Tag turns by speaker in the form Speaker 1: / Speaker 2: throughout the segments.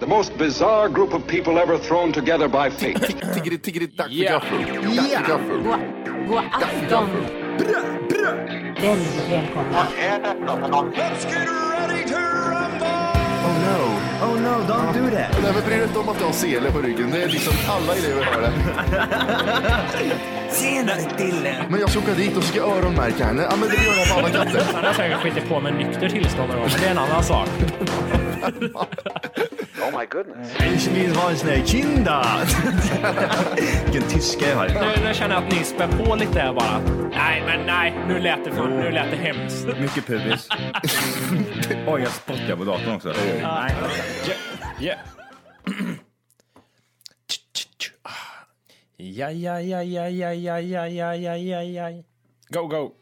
Speaker 1: The most bizarre group of people ever thrown together by fate.
Speaker 2: Tiggeri, tiggeri, dack för gaffel. Dack för gaffel.
Speaker 3: God afton! Väldigt välkomna.
Speaker 2: Oh no.
Speaker 4: Oh no, don't do that.
Speaker 2: Nej men bry dig inte om att du har sele på ryggen. Det är liksom alla elever har det.
Speaker 4: Senare Dille.
Speaker 2: Men jag ska åka dit och ska öronmärka henne. Ja men det gör jag på alla katter.
Speaker 5: Han har säkert skitit på med nykter tillstånd någon gång, men det är en annan sak.
Speaker 4: Ich vill ha en sån här kinda. Vilken tyska jag har.
Speaker 5: Nu, nu känner jag att ni spär på lite här bara. Nej, men nej. Nu lät det, fan, nu lät det hemskt.
Speaker 6: Mycket pubis. Oj, jag spottar på datorn också. Nej.
Speaker 5: Yeah. Ja, ja, ja, ja, ja, ja, ja, ja, ja, ja, ja. Go, go.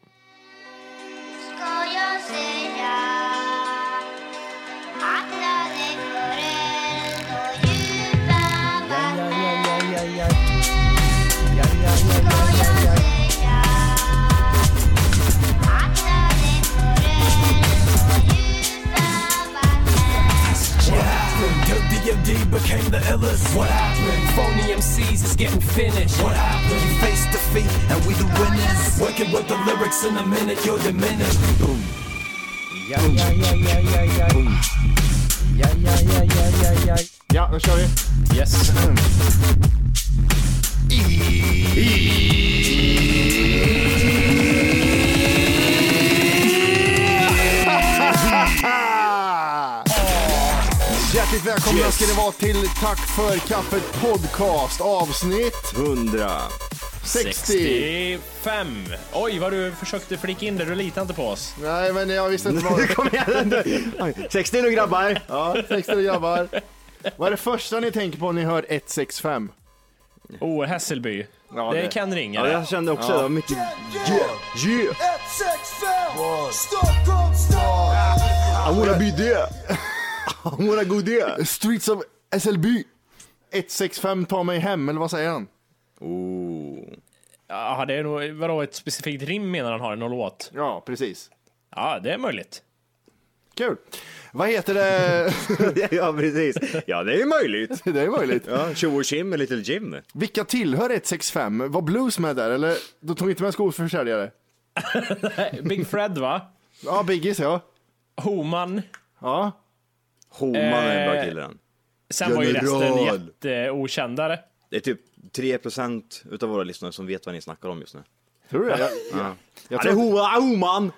Speaker 7: Ska jag säga att nöden går eld och djupa vatten? Ska jag säga att nöden går eld och djupa vatten?
Speaker 8: Phony MCs is getting finished. What happened? You face defeat and we the winners. Working with the lyrics in a minute, you're diminished. Boom.
Speaker 5: Ja, ja, ja, ja, ja, ja. Ja, ja, ja, ja, ja, ja.
Speaker 2: Ja, nu kör vi.
Speaker 5: Yes.
Speaker 2: Hjärtligt välkomna ska ni vara till Tack för kaffet podcast avsnitt
Speaker 6: 100.
Speaker 2: 60.
Speaker 5: 65. Oj, vad du försökte flika in det. Du litar inte på oss.
Speaker 2: Nej men jag visste inte vad
Speaker 4: Kom igen nu. Oj, 60 nu grabbar.
Speaker 2: Ja, 60 grabbar. Vad är det första ni tänker på när ni hör 165?
Speaker 5: Oh, Hässelby. det,
Speaker 6: det-
Speaker 5: kan ringa.
Speaker 4: Ja,
Speaker 5: det.
Speaker 4: jag kände också det. var Mycket...
Speaker 2: Yeah! I wanna be there! I wanna go there! Streets of SLB! 165 ta mig hem, eller vad säger han?
Speaker 6: Oh.
Speaker 5: Jaha, det är nog, vadå, ett specifikt rim menar han har i någon låt?
Speaker 2: Ja, precis.
Speaker 5: Ja, det är möjligt.
Speaker 2: Kul! Vad heter det?
Speaker 6: ja, precis. Ja, det är ju möjligt.
Speaker 2: det är möjligt.
Speaker 6: Ja, tjo och tjim med Little Jim.
Speaker 2: Vilka tillhör 165? Var Blues med där, eller? De tog inte med skoförsäljare?
Speaker 5: Big Fred, va?
Speaker 2: Ja, Biggies ja.
Speaker 5: Homan.
Speaker 2: Ja,
Speaker 6: Homan är
Speaker 4: Eh.
Speaker 6: den bra killen.
Speaker 5: Sen var ju resten
Speaker 6: General.
Speaker 5: jätteokändare.
Speaker 6: Det är typ 3% utav våra lyssnare som vet vad ni snackar om just nu.
Speaker 2: tror du det?
Speaker 6: Ja.
Speaker 2: Jag
Speaker 6: Han är
Speaker 2: tror-
Speaker 6: Hoa- Homan!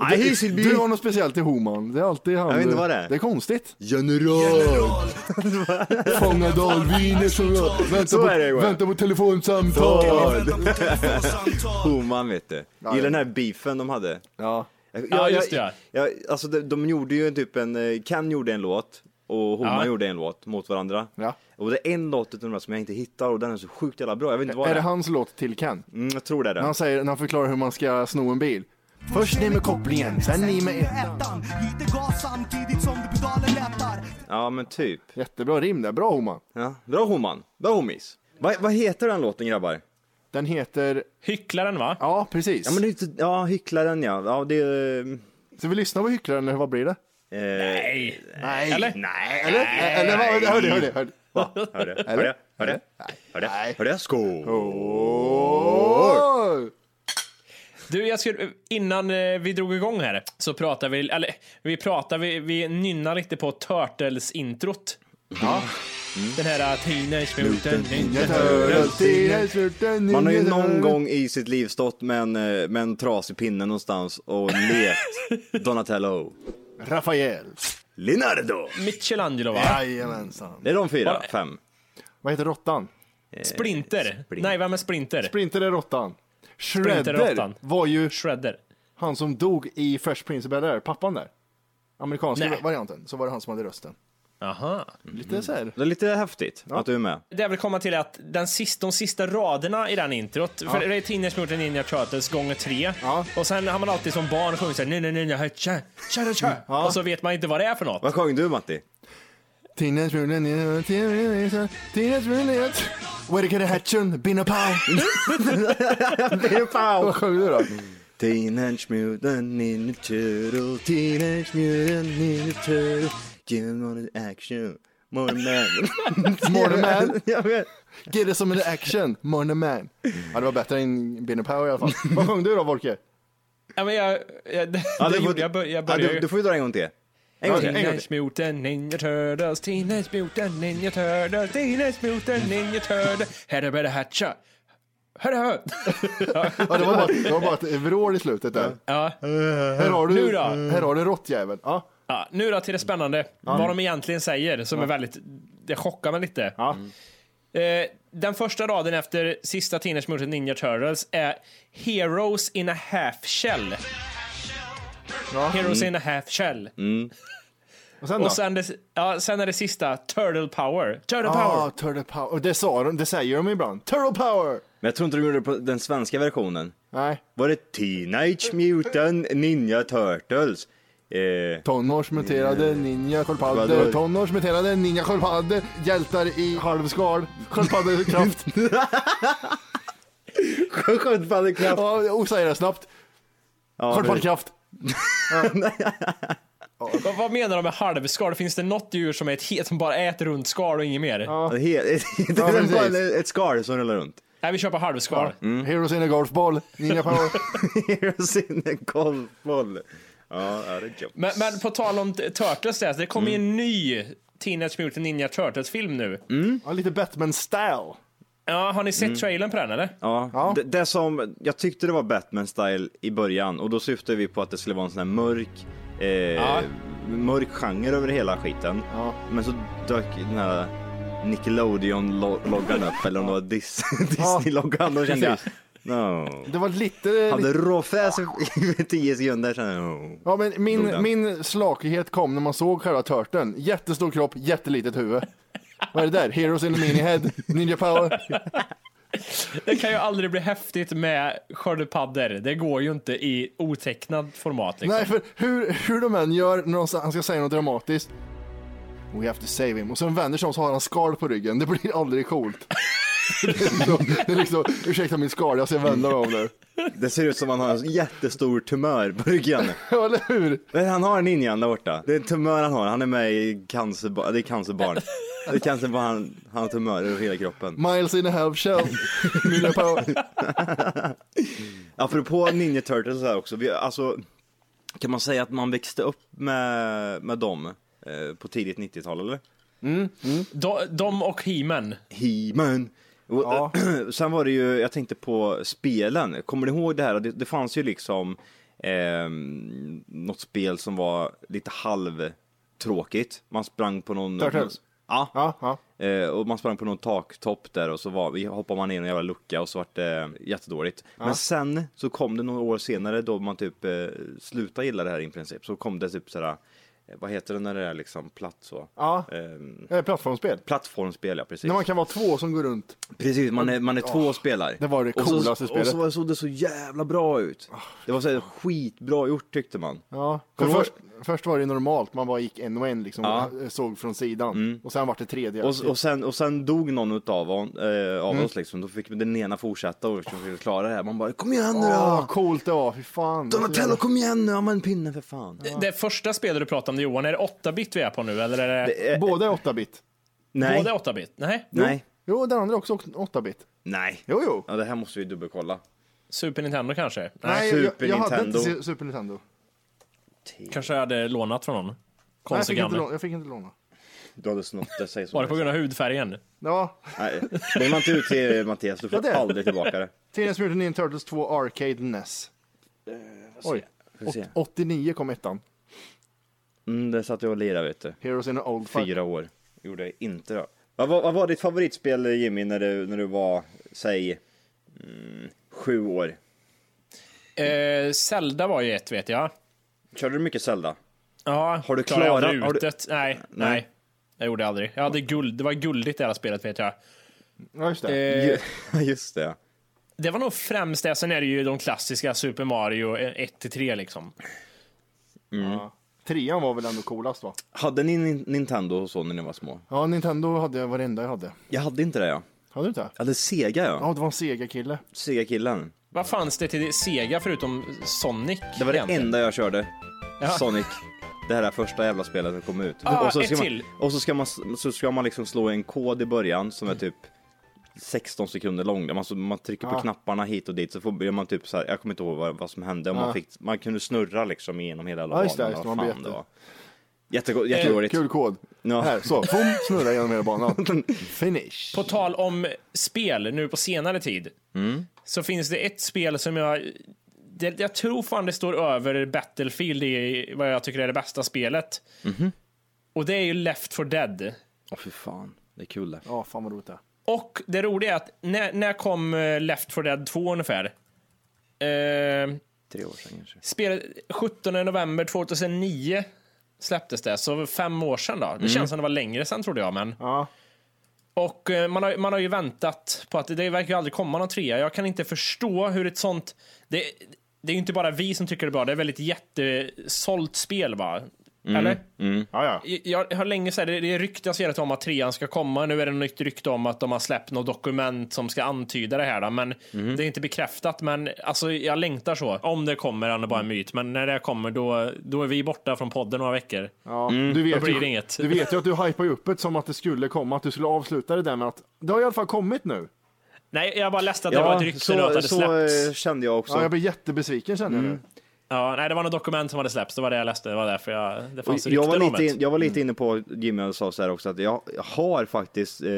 Speaker 6: Nej, Hysselby!
Speaker 2: Du har något speciellt till Homan. Det är alltid han.
Speaker 6: Jag vet inte
Speaker 2: du-
Speaker 6: vad det är.
Speaker 2: Det är konstigt.
Speaker 6: General!
Speaker 2: Fångad av viner som jag väntar,
Speaker 6: Så
Speaker 2: på,
Speaker 6: är det, Joel.
Speaker 2: väntar på telefonsamtal.
Speaker 6: Homan vet du. Gillar den här beefen de hade.
Speaker 2: Ja.
Speaker 6: Jag-
Speaker 5: Ja,
Speaker 6: jag-
Speaker 5: just det, ja.
Speaker 6: Jag, alltså de, de gjorde ju typ en, eh, Ken gjorde en låt och Homan
Speaker 5: Ja.
Speaker 6: gjorde en låt mot varandra.
Speaker 2: Ja.
Speaker 6: Och det är en låt utav de här som jag inte hittar och den är så sjukt jävla bra. Jag vet inte vad
Speaker 2: Är det hans låt till Ken?
Speaker 6: Mm, jag tror det är
Speaker 2: När
Speaker 6: det.
Speaker 2: han, säger, när han förklarar hur man ska sno en bil. Först ni med kopplingen, sen ni med er. ettan.
Speaker 6: Ja men typ.
Speaker 2: Jättebra rim där, bra Homan.
Speaker 6: Ja. Bra Homan, bra homies. Va, vad heter den låten grabbar?
Speaker 2: Den heter,
Speaker 5: Hycklaren, va?
Speaker 2: ja precis.
Speaker 6: Ja men det är inte, ja Hycklaren ja. Ja det är...
Speaker 2: Så vi lyssnar på Hycklaren eller vad blir det?
Speaker 6: Eh,
Speaker 5: Nej.
Speaker 2: Nej.
Speaker 5: Eller?
Speaker 6: nej.
Speaker 2: Eller? eller vad, hör du, hör du, hör du.
Speaker 6: Va? Hör det? Hör det? Hör det? Hör det? Hör det? Skål!
Speaker 2: Åh!
Speaker 5: Du, jag skulle, innan eh, vi drog igång här så pratade vi, eller vi pratade, vi, vi nynnade lite på Turtles-introt. Den här eh, Teenage Mutant Ninja Turtles.
Speaker 6: Man har ju någon gång i sitt liv stått med en, eh, med en trasig pinne någonstans och lekt Donatello.
Speaker 2: Rafael.
Speaker 6: Leonardo!
Speaker 5: Michelangelo, va?
Speaker 2: Jajamensan.
Speaker 6: Det är de fyra,
Speaker 5: Vad-
Speaker 6: fem.
Speaker 2: Vad heter råttan?
Speaker 5: Splinter.
Speaker 6: Splinter.
Speaker 5: Nej, vem är Splinter?
Speaker 2: Sprinter är råttan.
Speaker 5: Sprinter är
Speaker 2: Shredder
Speaker 5: råttan.
Speaker 2: var ju
Speaker 5: Shredder.
Speaker 2: han som dog i Fresh Prince of Bel-Air, pappan där. Amerikanska
Speaker 5: Nej. Mm.
Speaker 2: varianten, så var det han som hade rösten.
Speaker 5: Aha.
Speaker 2: Lite så här.
Speaker 6: Det är lite häftigt att du är med.
Speaker 5: Det jag vill komma till är att den sista, de sista raderna i den introt, för det är Teenage Mutant Ninja Turtles gånger tre,
Speaker 2: Ja.
Speaker 5: och sen har man alltid som barn sjungit såhär ninja ninja hö, tja, tja, tja, tja. och så vet man inte vad det är för något.
Speaker 6: Vad sjöng du Matti?
Speaker 2: Teenage Mutant Ninja- Teenage Teenage Mutant Where the hatchen, been a pow. Vad sjöng du då?
Speaker 6: Teenage Mutant Ninja Turtle, Teenage Mutant Ninja Turtle, give them all the action. Mormon.
Speaker 2: Morning man.
Speaker 6: Jag vet.
Speaker 2: Get it som en action. Morning man. Ja, det var bättre än Benny Power i alla fall. Vad sjöng du då, Volke?
Speaker 5: Ja, men jag, jag, det, det
Speaker 6: Ja, du får-
Speaker 5: gjorde jag. bör- Jag
Speaker 6: ja,
Speaker 5: började
Speaker 6: du,
Speaker 5: ju.
Speaker 6: du får ju dra en gång till. En gång till. En gång till.
Speaker 5: Teenage-mutant Ninja Turtles, Teenage-mutant Ninja Turtles, Teenage-mutant Ninja Turtles, herre bära hatcha. Herre hö.
Speaker 2: Ja, det, var bara, det var bara ett vrål i slutet där.
Speaker 5: Ja.
Speaker 2: Här har du,
Speaker 5: Nu då?
Speaker 2: här har du råttjäveln. Ja.
Speaker 5: Ja, nu då till det spännande, vad de egentligen säger som är väldigt, det chockar mig lite.
Speaker 2: Ja.
Speaker 5: Eh, den första raden efter sista Teenage Mutant Ninja Turtles är Heroes in a half shell. Heroes
Speaker 2: Mm.
Speaker 5: in a half shell.
Speaker 2: Och sen då?
Speaker 5: Och sen, det, ja, sen är det sista, Turtle power. Turtle
Speaker 2: ah,
Speaker 5: power!
Speaker 2: turtle power. Och Det, sa de, det säger de ibland. Turtle power!
Speaker 6: Men jag tror inte de gjorde det på den svenska versionen.
Speaker 2: Nej,
Speaker 6: Var det Teenage Mutant Ninja Turtles? Eh,
Speaker 2: tonårsmuterade ninja sköldpaddor.
Speaker 6: Vadå?
Speaker 2: Tonårsmuterade ninja sköldpaddor. Hjältar i halvskal. Sköldpaddekraft.
Speaker 6: Sköldpaddekraft.
Speaker 2: ja, och säger det snabbt. Sköldpaddekraft.
Speaker 5: Vad, vad menar de med halvskal? Finns det något djur som, är ett, helt- som bara äter runt skal och inget mer?
Speaker 6: Det är helt- det
Speaker 2: Ja,
Speaker 6: är
Speaker 2: precis.
Speaker 6: bara ett skal som rullar runt.
Speaker 5: Nej, vi kör på halvskal.
Speaker 2: Heroes in a golfboll. Ninja power.
Speaker 6: Heroes in a golfboll. Ja, ja, det är jobb.
Speaker 5: Men, men på tal om t- Turtles, där, så det kommer ju
Speaker 2: Mm.
Speaker 5: en ny Teenage Mutant Ninja Turtles-film nu.
Speaker 2: ja, lite Batman-style.
Speaker 5: Ja, har ni sett trailern på den eller?
Speaker 6: Ja,
Speaker 2: Ja.
Speaker 6: Det, det som, jag tyckte det var Batman-style i början och då syftade vi på att det skulle vara en sån här mörk, eh, mörk genre över hela skiten.
Speaker 2: Ja.
Speaker 6: Men så dök den här Nickelodeon-loggan upp, eller om det var Dis- Disney-loggan, då kände jag no.
Speaker 2: Det var lite...
Speaker 6: Hade råfräs i 10 sekunder, kände jag oh.
Speaker 2: Ja, men
Speaker 6: Drog
Speaker 2: min,
Speaker 6: den.
Speaker 2: min slakighet kom när man såg själva törten. Jättestor kropp, jättelitet huvud. Vad är det där? Heroes in a mini head, ninja power.
Speaker 5: Det kan ju aldrig bli häftigt med sköldpaddor. Det går ju inte i otecknad format. Liksom.
Speaker 2: Nej, för hur, hur de än gör när de, sa- han ska säga något dramatiskt. We have to save him. Och sen vänder sig om så har han skal på ryggen. Det blir aldrig coolt. Det är liksom, det är liksom, ursäkta mitt skal, jag ska vända mig om nu.
Speaker 6: Det ser ut som han har en jättestor tumör på ryggen.
Speaker 2: Ja, eller hur?
Speaker 6: Men han har en ninjan där borta. Det är en tumör han har. Han är med i cancerbarn. Det är cancerbarn. Det är cancerbarn. Han, han har tumör över hela kroppen.
Speaker 2: Miles in a half shell, eh, ninja power.
Speaker 6: Apropå Ninja Turtles här också. Vi, alltså, kan man säga att man växte upp med, med dem eh, på tidigt 90-tal eller?
Speaker 5: De, de och He-Man.
Speaker 6: He-Man. Och,
Speaker 2: Ja.
Speaker 6: Sen var det ju, jag tänkte på spelen. Kommer ni ihåg det här? Det, det fanns ju liksom eh, något spel som var lite halvtråkigt. Man sprang på någon...
Speaker 2: Turtles?
Speaker 6: Ja.
Speaker 2: Ja, ja.
Speaker 6: Eh, och man sprang på någon taktopp där och så var, hoppade man in i en jävla lucka och så vart det jättedåligt. Men sen så kom det några år senare då man typ eh, slutade gilla det här i princip. Så kom det typ sådär, eh, vad heter det när det är liksom platt så?
Speaker 2: Ja.
Speaker 6: Ehm,
Speaker 2: Eh, Plattformsspel.
Speaker 6: plattformsspel ja, precis.
Speaker 2: När man kan vara två som går runt.
Speaker 6: Precis, man är, man är två spelare.
Speaker 2: det var det
Speaker 6: Och så-
Speaker 2: coolaste
Speaker 6: Och
Speaker 2: spelet.
Speaker 6: så var- såg det så jävla bra ut. Det var så här skitbra gjort tyckte man.
Speaker 2: Ja, för
Speaker 6: Kommer du ihåg-
Speaker 2: först, först var det normalt, man bara gick en och en liksom,
Speaker 6: Ja. Mm.
Speaker 2: och såg från sidan. Och sen var det tredje.
Speaker 6: Och, och, sen, och sen dog någon utav hon, eh, av
Speaker 2: Mm.
Speaker 6: oss liksom, då fick den ena fortsätta och försöka klara det här. Man bara kom igen nu
Speaker 2: Åh, alltså,
Speaker 6: då!
Speaker 2: vad coolt det var, fy fan.
Speaker 6: Donatello kom igen nu, använd pinnen för fan.
Speaker 5: Det första spelet du pratade om Johan, är det 8-bit vi är på nu eller är det,
Speaker 2: Båda är 8-bit.
Speaker 6: Nej,
Speaker 5: båda 8-bit? Nej,
Speaker 6: nej,
Speaker 2: Jo, den andra är också 8-bit.
Speaker 6: nej.
Speaker 2: Jo, jo.
Speaker 6: Ja, det här måste vi dubbelkolla.
Speaker 5: Super Nintendo kanske? Nej,
Speaker 2: jag,
Speaker 6: Super
Speaker 2: jag hade inte
Speaker 6: Nintendo.
Speaker 2: se- Super Nintendo.
Speaker 5: kanske jag hade lånat från någon.
Speaker 2: Nej, jag,
Speaker 5: Konstig
Speaker 2: fick inte
Speaker 5: gammal.
Speaker 2: låna, jag fick inte låna.
Speaker 6: Du hade snott det, säg så.
Speaker 5: Var det på grund av hudfärgen?
Speaker 2: Ja,
Speaker 6: Nej, lägg man inte ut till Mattias, du
Speaker 2: Ja,
Speaker 6: får
Speaker 2: det.
Speaker 6: aldrig tillbaka det.
Speaker 2: Teenage Mutant Ninja Turtles 2 Arcade NES. Eh, Oj,
Speaker 6: Får se.
Speaker 2: Åt- 89 kom ettan.
Speaker 6: Mm, det satt jag och lirade vet du.
Speaker 2: Heroes in an Old Fight.
Speaker 6: Fyra år. Gjorde jag inte då. Vad var, vad var ditt favoritspel Jimmy när du, när du var, säg, mm, sju år?
Speaker 5: Eh, Zelda var ju ett vet jag.
Speaker 6: Körde du mycket Zelda?
Speaker 5: Ja,
Speaker 6: Har du
Speaker 5: klarade jag aldrig
Speaker 6: klarat- har
Speaker 5: ut
Speaker 6: du-
Speaker 5: det? Nej, nej,
Speaker 6: Nej.
Speaker 5: Jag gjorde aldrig. Jag hade guld, det var guldigt i hela spelet vet jag.
Speaker 2: Ja, just det.
Speaker 5: Eh,
Speaker 6: Ju- Just det.
Speaker 5: Det var nog främst det, sen är det ju de klassiska Super Mario eh, 1-3 liksom.
Speaker 2: Ja. Trean var väl ändå coolast va?
Speaker 6: Hade ni Nin- Nintendo och så när ni var små?
Speaker 2: Ja, Nintendo hade jag varenda jag hade.
Speaker 6: Jag hade inte det ja.
Speaker 2: Hade du inte?
Speaker 6: Jag hade Sega ja.
Speaker 2: Ja, det var en Sega-kille.
Speaker 6: Sega-killen.
Speaker 5: Vad fanns det till Sega förutom Sonic?
Speaker 6: Det var det
Speaker 5: egentligen?
Speaker 6: enda jag körde.
Speaker 5: Ja.
Speaker 6: Sonic. Det här är första jävla spelet som kom ut.
Speaker 5: Ah,
Speaker 6: och, så
Speaker 5: ett
Speaker 6: ska man,
Speaker 5: till.
Speaker 6: och så ska man, så ska man liksom slå en kod i början som är typ 16 sekunder lång. Där man, så, man trycker på knapparna hit och dit så får blir man typ så här, jag kommer inte ihåg vad, vad som hände. Om
Speaker 2: Ah.
Speaker 6: man, fick, man kunde snurra liksom igenom hela
Speaker 2: Ja,
Speaker 6: banan.
Speaker 2: just det,
Speaker 6: eller
Speaker 2: just det,
Speaker 6: vad
Speaker 2: man
Speaker 6: fan
Speaker 2: bet
Speaker 6: det
Speaker 2: det. Eh,
Speaker 6: var. Jättegå- Jättedåligt.
Speaker 2: Kul kod.
Speaker 6: Ja.
Speaker 2: Här, så. Boom, snurra genom hela banan. Finish.
Speaker 5: På tal om spel nu på senare tid
Speaker 6: Mm.
Speaker 5: så finns det ett spel som jag det, jag tror fan det står över Battlefield i vad jag tycker är det bästa spelet.
Speaker 6: Mhm.
Speaker 5: Och det är ju Left 4 Dead.
Speaker 6: Åh fy fan, det är kul det.
Speaker 2: Ja, fan vad roligt det
Speaker 5: Och det roliga är att när, när kom eh, Left 4 Dead 2 ungefär? Eh,
Speaker 6: Tre år sedan kanske.
Speaker 5: spelet 17 november 2009 släpptes det, så fem år sedan då. Det känns som det var längre sedan trodde jag, men.
Speaker 2: Ja.
Speaker 5: Och eh, man har, man har ju väntat på att det verkar ju aldrig komma någon trea. Jag kan inte förstå hur ett sånt... Det, det är ju inte bara vi som tycker det är bra, det är väl ett jättesålt spel va? Eller?
Speaker 2: Ja, ja.
Speaker 5: Jag jag har länge sagt, det det ryktas hela tiden om att trean ska komma. Nu är det något nytt rykte om att de har släppt något dokument som ska antyda det här. Då. Men
Speaker 6: Mm.
Speaker 5: det är inte bekräftat. Men alltså, jag längtar så. Om det kommer, han är bara en myt. Men när det kommer, då, då är vi borta från podden några veckor.
Speaker 2: ja. Du, vet
Speaker 5: Då blir
Speaker 2: ju,
Speaker 5: det inget.
Speaker 2: du vet ju att du hypar ju upp det som att det skulle komma, att du skulle avsluta det där med att det har i alla fall kommit nu.
Speaker 5: Nej, jag bara läste att det var ett rykte nu att det hade
Speaker 6: så eh,
Speaker 5: släppts.
Speaker 6: kände jag också.
Speaker 2: Ja, jag blir jättebesviken känner
Speaker 6: Mm.
Speaker 2: jag nu.
Speaker 5: Ja, nej, det var något dokument som hade släppts. Det var det jag läste. Det var därför jag, det
Speaker 6: Och
Speaker 5: fanns
Speaker 6: jag,
Speaker 5: rykten
Speaker 6: var
Speaker 5: om
Speaker 6: lite
Speaker 5: det. Mm.
Speaker 6: in, jag var lite inne på, Jimmy sa så här också, att jag har faktiskt eh,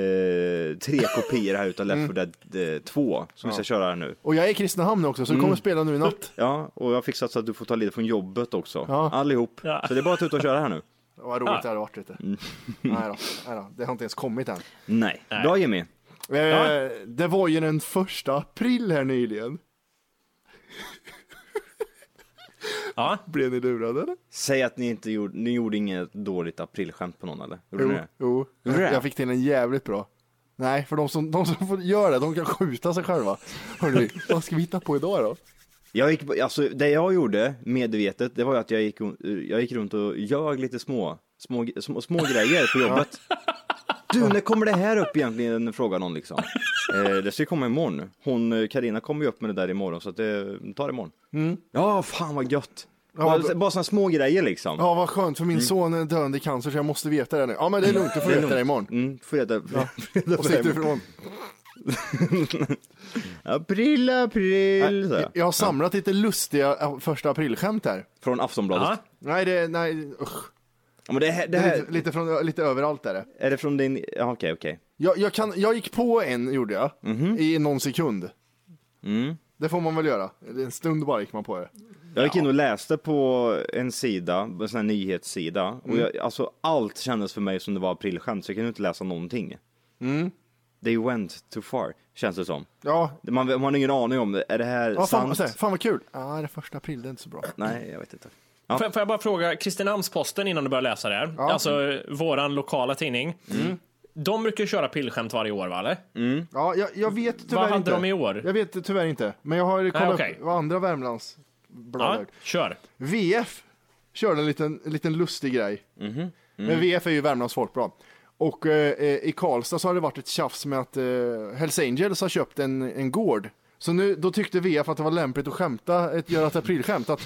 Speaker 6: tre kopior här utav
Speaker 5: Mm.
Speaker 6: Left 4 Dead eh, 2 som vi ska köra här nu.
Speaker 2: Och jag är i Kristinehamn också, så du
Speaker 6: Mm.
Speaker 2: kommer spela nu i natt.
Speaker 6: Ja, och jag har fixat så att du får ta lite från jobbet också,
Speaker 2: Ja.
Speaker 6: allihop.
Speaker 5: Ja.
Speaker 6: Så det är bara att ut och köra här nu.
Speaker 2: Vad roligt det hade varit vet du.
Speaker 6: Mm.
Speaker 2: Nej då, nej då, det har inte ens kommit än.
Speaker 6: Nej. Bra Jimmy.
Speaker 2: Eh, Det var ju den första april här nyligen.
Speaker 5: Ja.
Speaker 2: Blev ni lurade eller?
Speaker 6: Säg att ni inte gjorde, ni gjorde inget dåligt aprilskämt på någon eller? Gjorde ni
Speaker 2: Jo,
Speaker 6: det?
Speaker 2: jo.
Speaker 6: Gjorde du det?
Speaker 2: Jag fick till en jävligt bra. Nej, för de som, de som får göra det, de kan skjuta sig själva. Hörrni, vad ska vi hitta på idag då?
Speaker 6: Jag gick, på- alltså, det jag gjorde medvetet, det var ju att jag gick, jag gick runt och ljög lite små, små, små, små grejer på jobbet. Du, när kommer det här upp egentligen? Frågar någon liksom. Eh, det ska ju komma imorgon. Hon, eh, Carina kommer ju upp med det där imorgon, så att det tar imorgon.
Speaker 2: Mm.
Speaker 6: Ja, fan vad gött. bara, bara såna små grejer liksom.
Speaker 2: Ja, vad skönt, för min son är döende i cancer så jag måste veta det nu. Ja, men det är lugnt, du får veta det imorgon.
Speaker 6: Mm, får jag reda
Speaker 2: Och så gick du ifrån.
Speaker 6: April, april, sa jag.
Speaker 2: Jag har samlat lite lustiga eh, första aprilskämt här.
Speaker 6: Från Aftonbladet.
Speaker 5: Ja.
Speaker 2: Nej, det, nej, usch.
Speaker 6: Ja, men det, här, det
Speaker 2: Det är
Speaker 6: här,
Speaker 2: lite, lite, från, lite överallt är det.
Speaker 6: är det från din, ja okej, okej.
Speaker 2: Jag, jag, kan, jag gick på en, gjorde jag,
Speaker 5: Mhm.
Speaker 2: i någon sekund.
Speaker 5: Mm.
Speaker 2: Det får man väl göra. En stund bara gick man på det.
Speaker 6: Jag gick in och läste på en sida, en sån här nyhetssida,
Speaker 2: Mm.
Speaker 6: och jag, alltså allt kändes för mig som det var aprilskämt, så jag kunde inte läsa någonting.
Speaker 2: Mm.
Speaker 6: They went too far, känns det som.
Speaker 2: Ja,
Speaker 6: Man, man har ingen aning om, det. är det här
Speaker 2: ja fan,
Speaker 6: sant?
Speaker 2: så här, fan vad kul. Ja, det är första april, det är inte så bra.
Speaker 6: Nej, jag vet inte.
Speaker 5: Får, jag- får jag bara fråga, Kristinehamns-Posten innan du börjar läsa det här, alltså våran lokala tidning.
Speaker 6: Mm.
Speaker 5: De brukar ju köra pillskämt varje år, va? Eller?
Speaker 2: Ja, jag, jag vet tyvärr
Speaker 5: hade
Speaker 2: inte.
Speaker 5: de i år?
Speaker 2: Jag vet tyvärr inte, men jag har kollat
Speaker 5: okej.
Speaker 2: upp vad andra Värmlands
Speaker 5: Ja,
Speaker 2: blad
Speaker 5: kör.
Speaker 2: VF körde en liten, en liten lustig grej. Men VF är ju Värmlands folkblad. Och eh, eh, i Karlstad så har det varit ett tjafs med att eh, Hells Angels har köpt en, en gård. Så nu, då tyckte VF att det var lämpligt att skämta, ett, göra ett aprilskämt. Att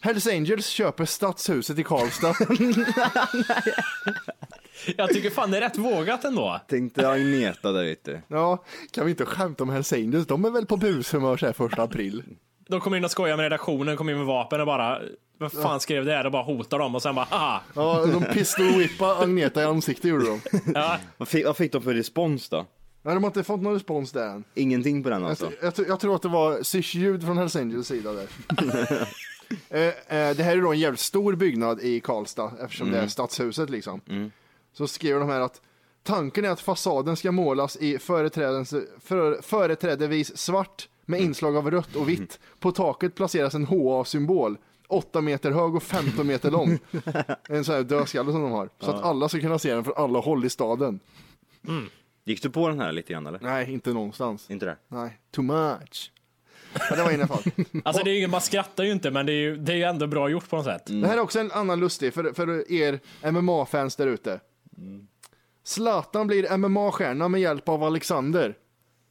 Speaker 2: Hells Angels köper stadshuset i Karlstad.
Speaker 5: Jag tycker fan det är rätt vågat ändå.
Speaker 6: Tänkte Agneta där ute.
Speaker 2: ja, kan vi inte skämta om Hells Angels? De är väl på bushumör så här första april.
Speaker 5: De kommer in och skojar med redaktionen, kommer in med vapen och bara vad fan skrev det här? Och bara hotar dem och sen bara haha.
Speaker 2: Ja, de pistol-whippade Agneta i ansiktet gjorde de.
Speaker 5: Ja,
Speaker 6: Vad fick, vad fick de för respons då?
Speaker 2: Nej, de har inte fått någon respons där än.
Speaker 6: Ingenting på den alltså?
Speaker 2: Jag, jag, tror- jag tror att det var syrsljud från Hells Angels sida där. eh, eh, det här är då en jävligt stor byggnad i Karlstad eftersom det är stadshuset liksom. Så skriver de här att tanken är att fasaden ska målas i företrädens, för, företrädevis svart med inslag av rött och vitt. På taket placeras en HA-symbol. 8 meter hög och 15 meter lång. En sån här dödskalle som de har. Så att alla ska kunna se den från alla håll i staden.
Speaker 6: Gick du på den här lite grann eller?
Speaker 2: Nej, inte någonstans.
Speaker 6: Inte det?
Speaker 2: Nej, too much. Ja, det var i alla fall.
Speaker 5: alltså det är ju, man skrattar ju inte men det är ju, det är ju ändå bra gjort på något sätt.
Speaker 2: Det här är också en annan lustig för, för er MMA-fans där ute. Zlatan blir MMA-stjärna med hjälp av Alexander.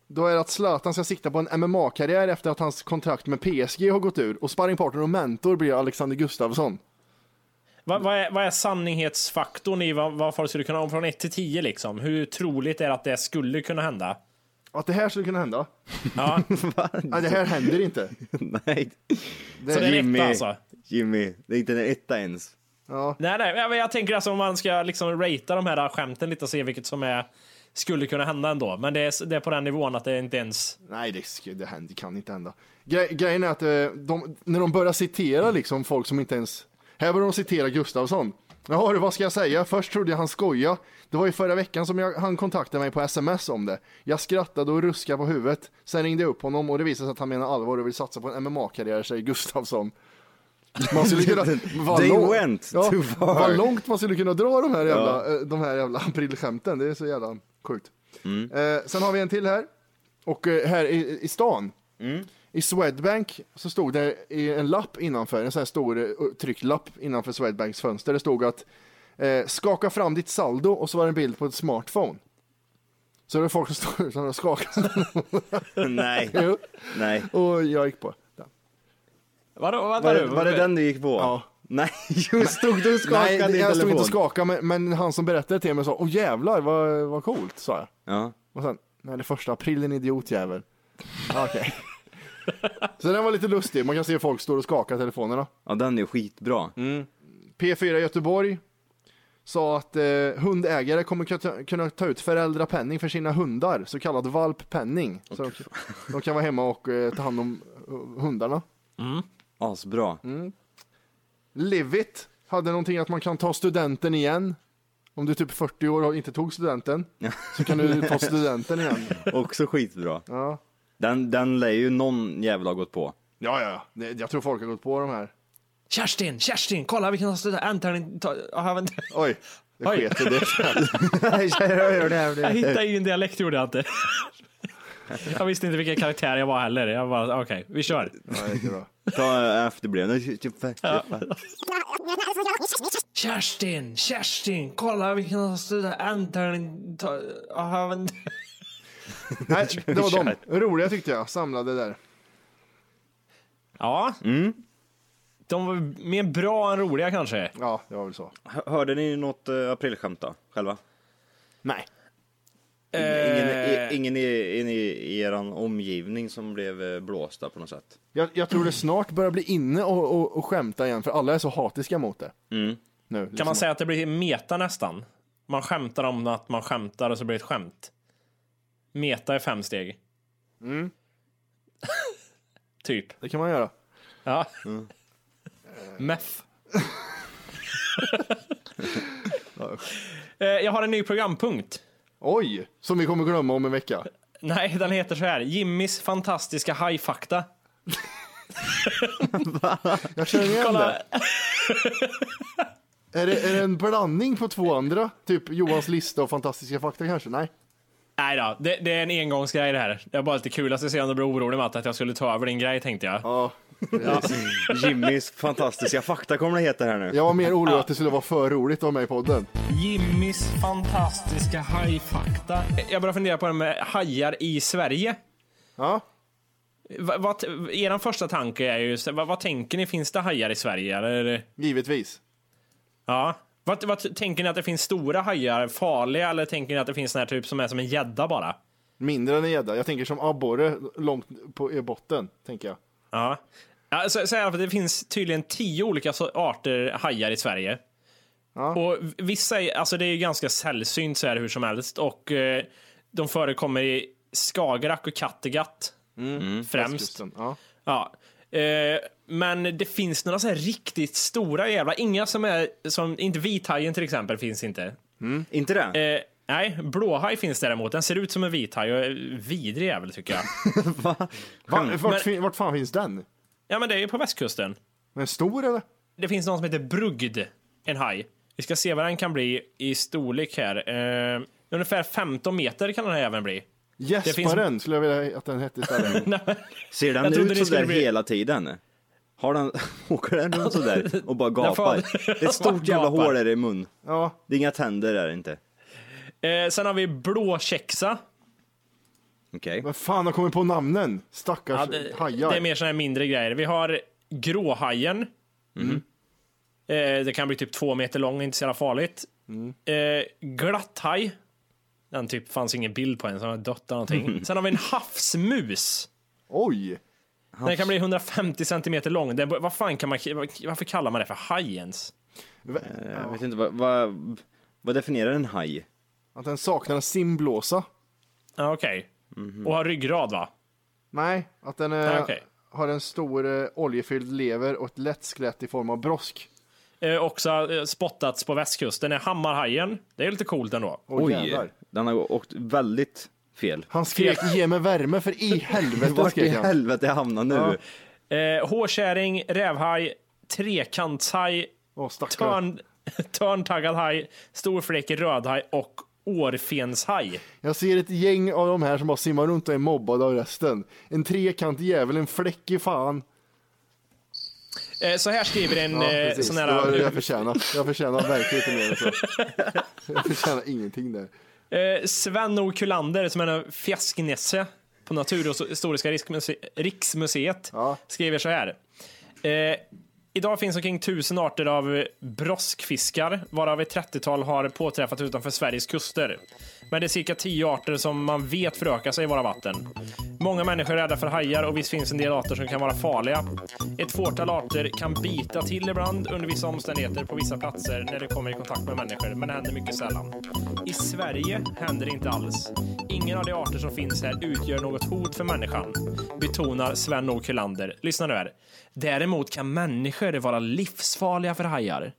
Speaker 2: Då är det att Zlatan ska sikta på en MMA-karriär efter att hans kontrakt med PSG har gått ur och sparringpartner och mentor blir Alexander Gustafsson.
Speaker 5: Vad, vad, är, vad är sannolikhetsfaktorn i vad, vad folk skulle kunna, om från 1 till 10 liksom, hur troligt är det att det skulle kunna hända?
Speaker 2: Att det här skulle kunna hända?
Speaker 5: Ja,
Speaker 2: Nej, det här händer inte.
Speaker 6: Nej.
Speaker 5: så det är en
Speaker 6: Jimmy,
Speaker 5: etta alltså.
Speaker 6: Jimmy, det är inte en etta ens.
Speaker 2: Ja.
Speaker 5: Nej, nej, men jag- jag tänker alltså om man ska liksom ratea de här skämten lite och se vilket som är skulle kunna hända ändå, men det är, det är på den nivån att det inte ens...
Speaker 2: Nej, det, sk- det, händer, det kan inte hända. Gre- grejen är att eh, de, när de börjar citera liksom folk som inte ens... Här börjar de citera Gustafsson. Jaha du, vad ska jag säga? Först trodde jag han skojade. Det var ju förra veckan som jag, han kontaktade mig på sms om det. Jag skrattade och ruskade på huvudet. Sen ringde jag upp honom och det visade sig att han menar allvar och vill satsa på en MMA-karriär, säger Gustafsson. Man skulle kunna, vad
Speaker 6: They
Speaker 2: lång-
Speaker 6: went
Speaker 2: ja,
Speaker 6: too far.
Speaker 2: Vad långt man skulle kunna dra de här jävla, eh, de här jävla aprilskämten. Det är så jävla sjukt. Eh, sen har vi en till här. Och eh, här i, i stan, i Swedbank, så stod det i en lapp innanför, en sån här stor eh, tryckt lapp innanför Swedbanks fönster. Det stod att eh, skaka fram ditt saldo och så var det en bild på ett smartphone. Så det var folk som stod som hade skakat.
Speaker 6: Nej,
Speaker 2: Jo.
Speaker 6: nej.
Speaker 2: och jag gick på. den.
Speaker 5: Vadå, vänta
Speaker 6: Var,
Speaker 5: nu,
Speaker 6: det- var det den du gick på?
Speaker 2: Ja.
Speaker 6: Nej, just stod du och skakade
Speaker 2: Nej,
Speaker 6: din
Speaker 2: jag stod
Speaker 6: telefon?
Speaker 2: inte och skakade, men, men han som berättade till mig sa, åh jävlar vad, vad coolt, sa jag.
Speaker 6: Ja.
Speaker 2: Och sen, nej det är första april din idiotjävel. Okej. Så den var lite lustig, man kan se folk står och skakar telefonerna.
Speaker 6: ja, den är skitbra.
Speaker 5: Mm.
Speaker 2: P4 Göteborg sa att eh, hundägare kommer kunna- kunna ta ut föräldrapenning för sina hundar, så kallad valppenning. Så de, de kan vara hemma och eh, ta hand om eh, hundarna.
Speaker 6: Asbra.
Speaker 5: Mm.
Speaker 2: Livit hade någonting att man kan ta studenten igen. Om du är typ 40 år och inte tog studenten så kan du ta studenten igen.
Speaker 6: Också skitbra.
Speaker 2: Ja,
Speaker 6: Den, den lär ju någon jävla ha gått på.
Speaker 2: ja, ja. Det- Jag tror folk har gått på de här.
Speaker 5: Kerstin, Kerstin, kolla vilken student, Anton, ta, ah, vänta.
Speaker 2: Oj, det
Speaker 5: Oj.
Speaker 2: sket i det.
Speaker 5: jag hittade ju en dialekt gjorde jag inte. Jag visste inte vilken karaktär jag var heller. Jag bara, okej, vi kör.
Speaker 2: Ja, det gick bra.
Speaker 6: Ta eh, efterblivna.
Speaker 5: Kerstin, Kerstin, kolla vilken student, Anton, ta, ah, vänta.
Speaker 2: Nej, det var de. Roliga tyckte jag, samlade där.
Speaker 5: Ja. De var mer bra än roliga kanske.
Speaker 2: Ja, det var väl så.
Speaker 6: Hörde ni något eh, aprilskämt då, själva?
Speaker 2: Nej.
Speaker 5: Eh.
Speaker 6: Ingen, i, ingen i, in i, i eran omgivning som blev eh, blåsta på något sätt?
Speaker 2: Jag, jag tror det snart börjar bli inne och, och, och skämta igen, för alla är så hatiska mot det. Nu,
Speaker 5: Mm.
Speaker 2: liksom.
Speaker 5: Kan man säga att det blir meta nästan? Man skämtar om att man skämtar och så blir det ett skämt. Meta är fem steg. typ.
Speaker 2: Det kan man göra.
Speaker 5: Ja. Meff. Eh, Jag har en ny programpunkt.
Speaker 2: Oj, som vi kommer glömma om en vecka.
Speaker 5: Nej, den heter så här. Jimmys fantastiska hajfakta.
Speaker 2: Jag känner igen
Speaker 5: Kolla.
Speaker 2: det. Är, det. är det en blandning på två andra? Typ Johans lista och fantastiska fakta kanske? Nej.
Speaker 5: Nej då, det, det är en engångsgrej det här. Det är bara lite kul att se om du blir orolig Matt, att jag skulle ta över din grej tänkte jag.
Speaker 2: Ja.
Speaker 6: Jimmys fantastiska fakta kommer det heta här nu.
Speaker 2: Jag var mer orolig att det skulle vara för roligt att ha med i podden.
Speaker 5: Jimmys fantastiska hajfakta. Jag börjar fundera på det med hajar i Sverige.
Speaker 2: Ja.
Speaker 5: Va, vad- er första tanke är ju, så- vad, vad tänker ni, finns det hajar i Sverige? Eller?
Speaker 2: Givetvis.
Speaker 5: Ja. Vad, vad tänker ni att det finns stora hajar, farliga, eller tänker ni att det finns den här typ som är som en gädda bara?
Speaker 2: Mindre än en gädda. Jag tänker som abborre långt på i botten, tänker jag.
Speaker 5: Ja. ja så, så här, för det finns tydligen tio olika så- arter hajar i Sverige. Och vissa, är- alltså det är ju ganska sällsynt så här hur som helst och eh, de förekommer i Skagerrak och Kattegatt främst.
Speaker 2: Kusten. Ja.
Speaker 5: Ja. Eh, men det finns några så här riktigt stora jävla, inga som är, som inte vithajen till exempel finns inte.
Speaker 6: Inte det?
Speaker 5: Eh, nej, blåhaj finns däremot. Den ser ut som en vithaj och är vidrig jävel tycker jag.
Speaker 2: Va, vart,
Speaker 5: Men-
Speaker 2: fin, vart fan finns den?
Speaker 5: ja men det är ju på västkusten.
Speaker 2: Men stor eller?
Speaker 5: Det finns någon som heter brugd, en haj. Vi ska se vad den kan bli i storlek här. Eh, ungefär 15 meter kan den här även bli.
Speaker 2: Gäsparen skulle jag vilja att den hette istället.
Speaker 5: Nej, men-
Speaker 6: Ser
Speaker 5: jag
Speaker 6: den
Speaker 5: trodde
Speaker 6: ut
Speaker 5: det
Speaker 6: sådär
Speaker 5: skulle bli-
Speaker 6: hela tiden? Har den, åker den runt sådär och bara
Speaker 5: får-
Speaker 6: gapar? Det är ett
Speaker 5: bara
Speaker 6: stort jävla
Speaker 5: gapar.
Speaker 6: hål där i mun.
Speaker 2: Ja,
Speaker 6: Det är inga tänder där inte.
Speaker 5: eh, sen har vi blåkäxa.
Speaker 6: Okej.
Speaker 2: men fan har kommit på namnen? Stackars
Speaker 5: Ja, det,
Speaker 2: hajar.
Speaker 5: Mm. det är mer sådana här mindre grejer. Vi har gråhajen. Eh, det kan bli typ två meter lång, inte så jävla farligt. Eh, glatthaj. Den typ fanns ingen bild på en, så den har dött eller någonting. Sen har vi en havsmus.
Speaker 2: Oj!
Speaker 5: Den kan bli 150 centimeter lång. Den, vad fan kan man, varför kallar man det för haj ens?
Speaker 6: Eh, Jag vet inte, vad, vad, vad definierar en haj?
Speaker 2: Att den saknar en simblåsa.
Speaker 5: Ja, Okej. Och har ryggrad va?
Speaker 2: Nej, att den eh,
Speaker 5: Nej, okej.
Speaker 2: har en stor eh, oljefylld lever och ett lätt skelett i form av brosk.
Speaker 5: Eh, också eh, spottats på västkusten är hammarhajen. Det är lite coolt ändå.
Speaker 2: Åh,
Speaker 6: Oj,
Speaker 2: jävlar.
Speaker 6: den har åkt väldigt fel.
Speaker 2: Han skrek ge mig värme för i helvete
Speaker 6: Vart i
Speaker 2: skrek han.
Speaker 6: helvete jag hamnar nu?
Speaker 5: Eh, hårkärring, rävhaj, trekantshaj,
Speaker 2: Åh stackare.
Speaker 5: törn, törntaggad haj, storfläckig rödhaj och årfenshaj.
Speaker 2: Jag ser ett gäng av de här som bara simmar runt och är mobbade av resten. En trekantig jävel, en fläckig fan.
Speaker 5: Eh, Så här skriver en
Speaker 2: Ja,
Speaker 5: eh,
Speaker 2: precis.
Speaker 5: sån
Speaker 2: Det var det jag
Speaker 5: här...
Speaker 2: förtjänar. Jag förtjänar verkligen inte mer än så. Jag förtjänar ingenting där.
Speaker 5: Eh, Sven Okulander som är en fjäsknisse på Natur och historiska riksmuse- riksmuseet
Speaker 2: Ja.
Speaker 5: skriver så här. Eh, idag finns omkring tusen arter av broskfiskar varav ett 30-tal har påträffats utanför Sveriges kuster. Men det är cirka 10 arter som man vet förökar sig i våra vatten. Många människor är rädda för hajar och visst finns en del arter som kan vara farliga. Ett fåtal arter kan bita till ibland under vissa omständigheter på vissa platser när de kommer i kontakt med människor, men det händer mycket sällan. I Sverige händer det inte alls. Ingen av de arter som finns här utgör något hot för människan, betonar Sven O. Kullander. Lyssna nu här. Däremot kan människor vara livsfarliga för hajar.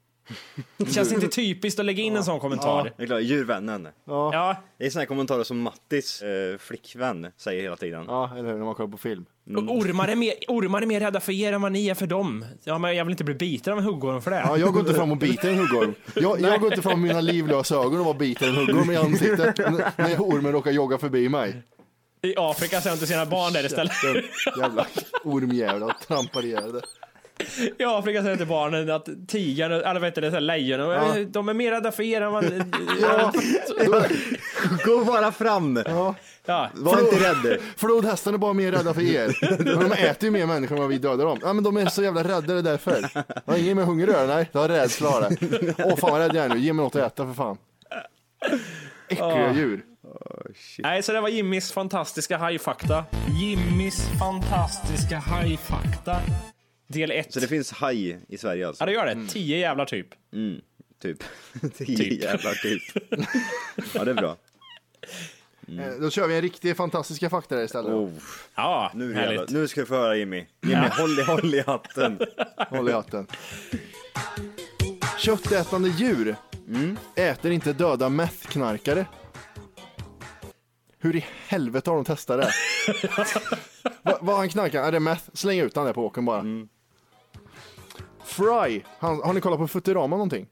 Speaker 5: Det känns inte typiskt att lägga in en sån kommentar.
Speaker 6: Jag är klar, djurvännen.
Speaker 5: Ja,
Speaker 6: Det är såna här kommentarer som Mattis eh, flickvän säger hela tiden.
Speaker 2: Ja, eller hur, när man kollar på film.
Speaker 5: och ormar är, mer, ormar är mer rädda för er än vad ni är för dem. Ja, men jag vill inte bli biten av en huggorm för det.
Speaker 2: Ja, jag går inte fram och biter en huggorm. Jag, jag går inte fram med mina livlösa ögon och bara biter en huggorm i ansiktet n- när ormen råkar jogga förbi mig.
Speaker 5: I Afrika sänder till sina barn där istället.
Speaker 2: Den jävla ormjävlar trampar ihjäl det.
Speaker 5: I Afrika säger till barnen att tigern, eller vad heter det, så här, lejon, och, eh, de är mer rädda för er än vad...
Speaker 2: Ja, då-
Speaker 6: Gå bara fram!
Speaker 5: Ja.
Speaker 6: Var inte rädd!
Speaker 2: Flodhästarna är bara mer rädda för er. Men de äter ju mer människor än vad vi dödar dem. Ja, men de är så jävla rädda, det är därför. Ja, ingen med hunger att göra, nej. Det har rädsla har det. Åh, fan vad rädd jag är nu. Ge mig något att äta för fan.
Speaker 5: Ah.
Speaker 2: Äckliga djur.
Speaker 5: Nej, så det var Jimmys fantastiska hajfakta. Jimmys fantastiska hajfakta. Del 1.
Speaker 6: Så det finns haj i Sverige alltså?
Speaker 5: Ja, det gör
Speaker 2: Mm.
Speaker 5: det. Tio jävlar typ.
Speaker 6: Typ. Tio jävlar typ. ja, det är bra.
Speaker 2: Eh, Då kör vi en riktig fantastiska fakta där istället.
Speaker 6: Oh,
Speaker 5: Ja,
Speaker 6: nu, är det
Speaker 5: härligt.
Speaker 6: jävlar. nu ska du få höra Jimmy. Jimmy, håll, i- håll i hatten.
Speaker 2: Håll i hatten. Köttätande djur äter inte döda meth-knarkare. Hur i helvete har de testat det? Va- Vad han knarkar? Är det meth? Släng ut han där på åkern bara.
Speaker 6: Mm.
Speaker 2: Fry, han, har ni kollat på Futurama någonting?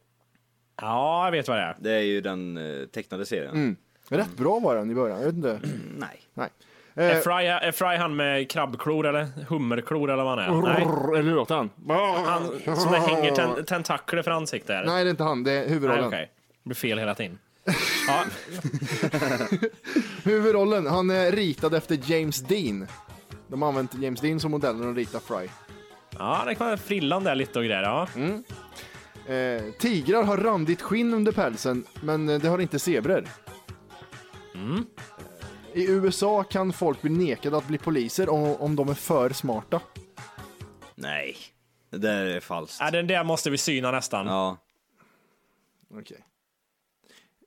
Speaker 5: Ja, jag vet vad det är.
Speaker 6: Det är ju den eh, tecknade serien.
Speaker 2: Rätt bra var den i början, jag vet inte.
Speaker 6: Mm. Nej.
Speaker 2: Nej. Eh.
Speaker 5: Är Fry, är Fry han med krabbklor eller hummerklor eller vad han är? Nej,
Speaker 2: Brrr, Eller hur låter han?
Speaker 5: han som det hänger ten- tentakler för ansiktet. här.
Speaker 2: Nej, det är inte han, det är
Speaker 5: Nej,
Speaker 2: huvudrollen.
Speaker 5: okej. Det blir fel hela tiden. Ja,
Speaker 2: Huvudrollen, han är ritad efter James Dean. De har använt James Dean som modell när de ritar Fry.
Speaker 5: ja det kan vara frillan där lite och grejer. Ja.
Speaker 6: Mm.
Speaker 2: Eh, tigrar har randigt skinn under pälsen, men eh, det har inte zebror. Eh, I USA kan folk bli nekade att bli poliser om, om de är för smarta.
Speaker 6: Nej. Det där är falskt.
Speaker 5: Ja, Äh, den där måste vi syna nästan.
Speaker 6: Ja.
Speaker 2: Okej.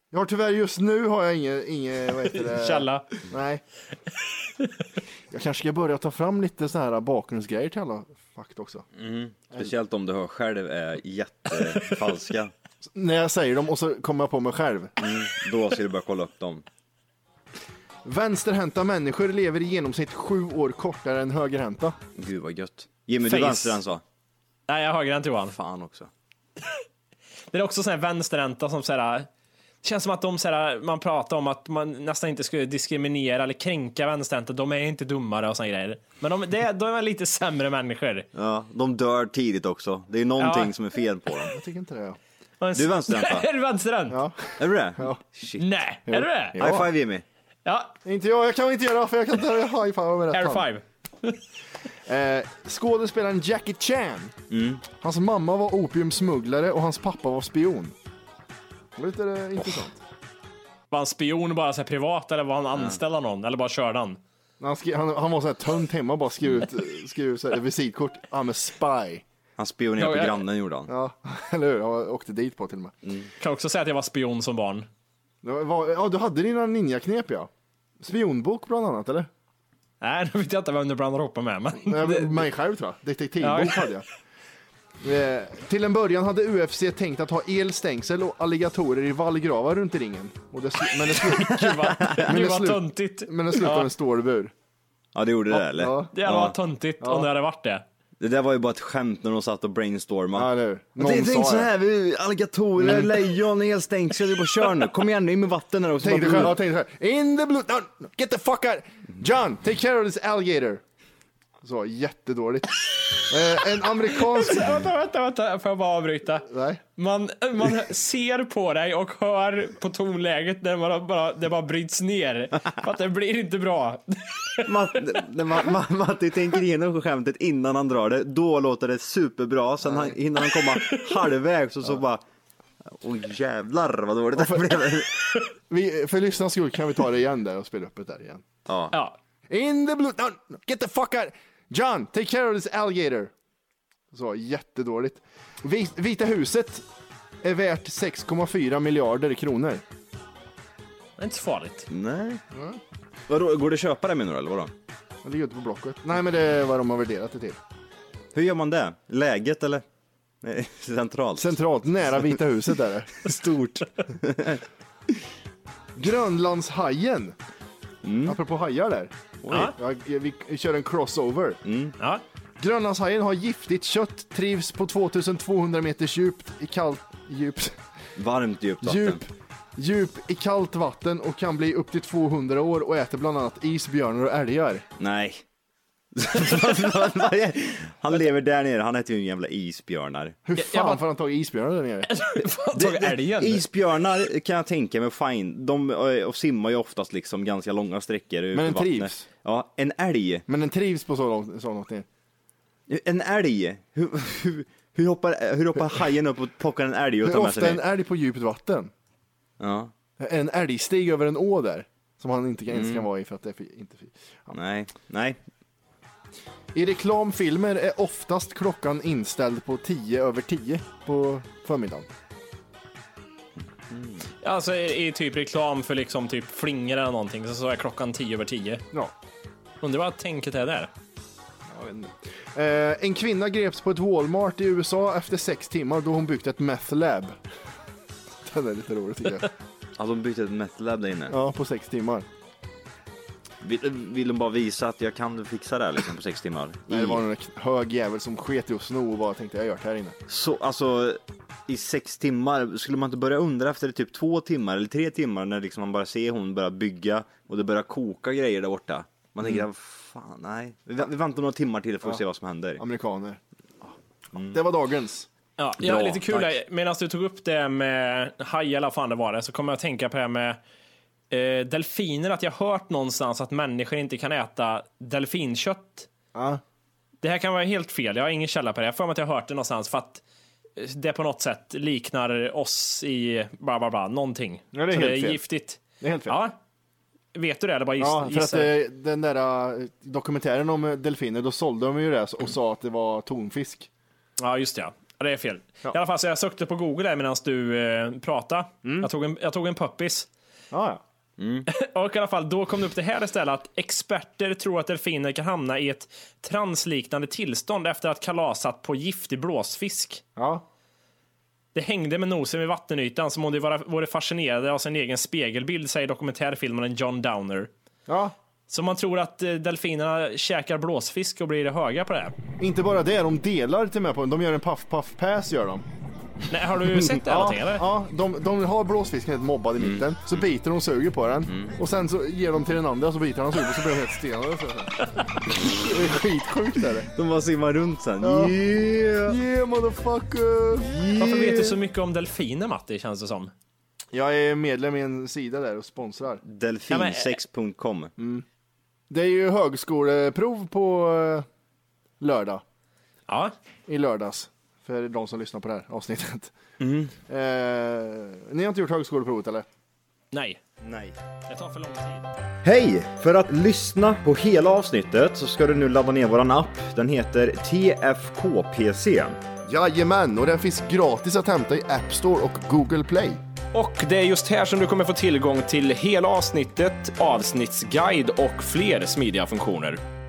Speaker 2: Jag har tyvärr just nu har jag ingen, ingen vad heter det?
Speaker 5: Källa.
Speaker 2: Nej. Jag kanske ska börja ta fram lite så här bakgrundsgrejer till alla fakta också.
Speaker 6: Speciellt om du hör själv är jättefalska.
Speaker 2: När jag säger dem och så kommer jag på mig själv.
Speaker 6: Då ska du börja kolla upp dem.
Speaker 2: Vänsterhänta människor lever i genomsnitt sju år kortare än högerhänta.
Speaker 6: Gud vad gött. Jimmy,
Speaker 5: Face.
Speaker 6: du vänster den sa.
Speaker 5: Nej, jag har högerhänt Johan.
Speaker 6: Fan också.
Speaker 5: Det är också sån här vänsterränta som såhär, det känns som att de såhär, man pratar om att man nästan inte skulle diskriminera eller kränka vänsterränta. De är inte dummare och såna grejer. Men de, det, de är lite sämre människor.
Speaker 6: Ja, de dör tidigt också. Det är någonting
Speaker 5: Ja.
Speaker 6: som är fel på dem.
Speaker 2: Jag tycker inte det. Ja.
Speaker 6: Du är vänsterhänta.
Speaker 5: är du vänsterhänt?
Speaker 2: Ja.
Speaker 6: Är du det?
Speaker 2: Ja.
Speaker 6: Shit.
Speaker 5: Nej, är du det?
Speaker 2: Ja.
Speaker 6: High five Jimmy.
Speaker 5: Ja,
Speaker 2: Inte jag, jag kan inte göra för jag kan inte high five med rätt
Speaker 5: air
Speaker 2: hand.
Speaker 5: five.
Speaker 2: Eh, skådespelaren Jackie Chan. Hans mamma var opiumsmugglare och hans pappa var spion. Det var lite eh, intressant.
Speaker 5: Var han spion bara så här privat eller var han anställd av någon? Eller bara körde han?
Speaker 2: Han, skri- han, han var så här tönt hemma och bara skrev ut, eh, skrev ut så här, visitkort. Han med spy.
Speaker 6: Han spionerade
Speaker 5: Ja,
Speaker 6: på
Speaker 5: jag-
Speaker 6: grannen gjorde han.
Speaker 2: Ja, eller hur? Han åkte dit på till och med.
Speaker 5: Kan också säga att jag var spion som barn.
Speaker 2: Det var, ja, du hade dina ninjaknep ja. Spionbok bland annat eller?
Speaker 5: Nej, nu vet jag inte vem du blandar ihop mig med. Men
Speaker 2: Nej, men Mig själv tror jag. Detektivbok
Speaker 5: Ja.
Speaker 2: hade jag. Eh, till en början hade UFC tänkt att ha elstängsel och alligatorer i vallgravar runt i ringen. Och det, slu- men det, slu-
Speaker 5: gud vad, gud
Speaker 2: det
Speaker 5: vad
Speaker 2: slut-
Speaker 5: töntigt.
Speaker 2: men det slutade med en stålbur.
Speaker 6: Ja, det gjorde det eller?
Speaker 2: Ja.
Speaker 5: Det hade varit töntigt om det hade varit det.
Speaker 6: Det där var ju bara ett skämt när de satt och brainstormade.
Speaker 2: Ja, eller hur?
Speaker 6: Men det Mm.
Speaker 2: Någon sa
Speaker 6: är tänk så
Speaker 2: det.
Speaker 6: här, vi, alligatorer, lejon, elstängsel, du bara kör nu. Kom igen nu, in med vatten här också.
Speaker 2: Tänkte
Speaker 6: Bara-
Speaker 2: själv, jag tänkte så här. In the blue, no, no, get the fuck out. John, take care of this alligator. Så jättedåligt. Eh, en amerikansk...
Speaker 5: Vänta, vänta, vänta. Får jag bara avbryta?
Speaker 2: Nej.
Speaker 5: Man, man ser på dig och hör på tonläget när man bara, det bara bryts ner. För att det blir inte bra.
Speaker 6: Matt, när Ma- Ma- Matti tänker igenom skämtet innan han drar det, då låter det superbra. Sen han, hinner han komma halvvägs och så bara, åh jävlar vad dåligt det blev.
Speaker 2: Vi, för lyssnarnas skull kan vi ta det igen där och spela upp det där igen.
Speaker 5: Ja.
Speaker 2: In the blue, no, no, get the fuck out. John, take care of this alligator. Så jättedåligt. Vi, Vita huset är värt 6,4 miljarder kronor.
Speaker 5: Det är inte så farligt.
Speaker 6: Nej. Vadå, går det att köpa det menar du eller vadå?
Speaker 2: Det ligger ute på Blocket. Nej, men det är vad de har värderat det till.
Speaker 6: Hur gör man det? Läget eller? Nej, Centralt?
Speaker 2: Centralt, nära Vita huset är det.
Speaker 5: Stort.
Speaker 2: Grönlandshajen. Apropå hajar där.
Speaker 5: Ja.
Speaker 2: Jag, vi kör en crossover.
Speaker 5: Ja.
Speaker 2: Grönlandshajen har giftigt kött, trivs på 2200 meters djupt i kallt, djupt,
Speaker 6: Varmt djupt vatten.
Speaker 2: djup, djup i kallt vatten och kan bli upp till 200 år och äter bland annat isbjörnar och älgar.
Speaker 6: Nej. han lever där nere, han äter ju en jävla isbjörnar.
Speaker 2: Hur
Speaker 5: Jag-
Speaker 2: fan
Speaker 5: jag bara-
Speaker 2: får han tag i isbjörnar där nere?
Speaker 5: Fan, tagit älgen.
Speaker 6: Isbjörnar kan jag tänka mig, fine, de eh, simmar ju oftast liksom ganska långa sträckor ut
Speaker 2: Men
Speaker 6: i
Speaker 2: den
Speaker 6: vattnet.
Speaker 2: trivs.
Speaker 6: Ja, en älg.
Speaker 2: Men den trivs på så långt, så långt ner.
Speaker 6: En älg. Hur, hur, hur, hoppar, hur hoppar hajen upp och plockar en älg och
Speaker 2: Hur
Speaker 6: tar med
Speaker 2: ofta
Speaker 6: sig
Speaker 2: en
Speaker 6: ner?
Speaker 2: älg på djupt vatten?
Speaker 6: Ja,
Speaker 2: En älgstig över en å där. Som han inte kan, ens kan vara i för att det är för, inte för.
Speaker 6: nej, nej.
Speaker 2: I reklamfilmer är oftast klockan inställd på 10 över 10 på förmiddagen.
Speaker 5: Alltså i, i typ reklam för liksom typ flingor eller någonting så, så är klockan tio över tio.
Speaker 2: Ja.
Speaker 5: Undrar vad tänket är där.
Speaker 2: Eh, en kvinna greps på ett Walmart i USA efter sex timmar då hon byggt ett meth lab. Den är lite rolig tycker jag.
Speaker 6: Ja, Alltså, de byggde ett meth lab där inne.
Speaker 2: Ja, på sex timmar.
Speaker 6: Vill, vill de bara visa att jag kan fixa det här liksom på sex timmar?
Speaker 2: Nej, det var
Speaker 6: I,
Speaker 2: en hög jävel som sket i att sno och bara tänkte jag gör det här inne.
Speaker 6: så, alltså, I sex timmar, skulle man inte börja undra efter typ två timmar eller tre timmar när liksom man bara ser hon börja bygga och det börjar koka grejer där borta? Man tänker, fan nej. Vi, vä- vi väntar några timmar till för att se vad som händer.
Speaker 2: Amerikaner. Det var dagens.
Speaker 5: Ja, ja
Speaker 6: Bra,
Speaker 5: lite kul
Speaker 6: tack.
Speaker 5: där. Medan du tog upp det med haj eller vad fan det var det, så kommer jag att tänka på det här med eh, delfiner. Att jag har hört någonstans att människor inte kan äta delfinkött.
Speaker 2: Ja.
Speaker 5: Det här kan vara helt fel. Jag har ingen källa på det. Jag har för mig att jag har hört det någonstans för att eh, det på något sätt liknar oss i bla bla bla, någonting.
Speaker 2: Ja, det är
Speaker 5: så
Speaker 2: helt
Speaker 5: det är
Speaker 2: fel.
Speaker 5: giftigt.
Speaker 2: Det är helt fel.
Speaker 5: Ja. Vet du det eller bara giss,
Speaker 2: Ja, för att
Speaker 5: gissar?
Speaker 2: eh, den där eh, dokumentären om eh, delfiner, då sålde de ju det och sa att det var tonfisk.
Speaker 5: Ja, just det. ja. Ja, det är fel. I alla fall, så jag sökte på Google där medan du eh, pratade.
Speaker 2: Mm.
Speaker 5: Jag, tog en, jag tog en puppis.
Speaker 2: Ja, ja.
Speaker 5: Och i alla fall, då kom det upp det här istället att experter tror att delfiner kan hamna i ett transliknande tillstånd efter att kalasat på giftig blåsfisk.
Speaker 2: ja.
Speaker 5: Det hängde med nosen vid vattenytan som om de vara- vore fascinerade av sin egen spegelbild, säger dokumentärfilmaren John Downer.
Speaker 2: ja.
Speaker 5: Så man tror att eh, delfinerna käkar blåsfisk och blir höga på det. här.
Speaker 2: Inte bara det, de delar till och med på den. De gör en puff puff pass gör de.
Speaker 5: Nej, har du sett det här någonting eller?
Speaker 2: ja de, de har blåsfisken helt mobbad i mitten, så biter de och suger på den. Och sen så ger de till den andra så biter han och suger och så blir de helt stenade. Så. Det är skitsjukt är det.
Speaker 6: De bara simmar runt sen. Yeah.
Speaker 2: Yeah motherfucker!
Speaker 5: Varför vet du så mycket om delfiner Matti, känns det som?
Speaker 2: Jag är medlem i en sida där och sponsrar.
Speaker 6: Delfinsex.com.
Speaker 2: Det är ju högskoleprov på eh, lördag.
Speaker 5: Ja.
Speaker 2: I lördags. För de som lyssnar på det här avsnittet.
Speaker 5: Mm.
Speaker 2: Eh, ni har inte gjort högskoleprovet eller?
Speaker 5: Nej.
Speaker 6: Nej.
Speaker 5: Det tar för lång tid.
Speaker 6: Hej! För att lyssna på hela avsnittet så ska du nu ladda ner våran app. Den heter TFKPC.
Speaker 2: Jajamän, och den finns gratis att hämta i App Store och Google Play.
Speaker 5: Och det är just här som du kommer få tillgång till hela avsnittet, avsnittsguide och fler smidiga funktioner.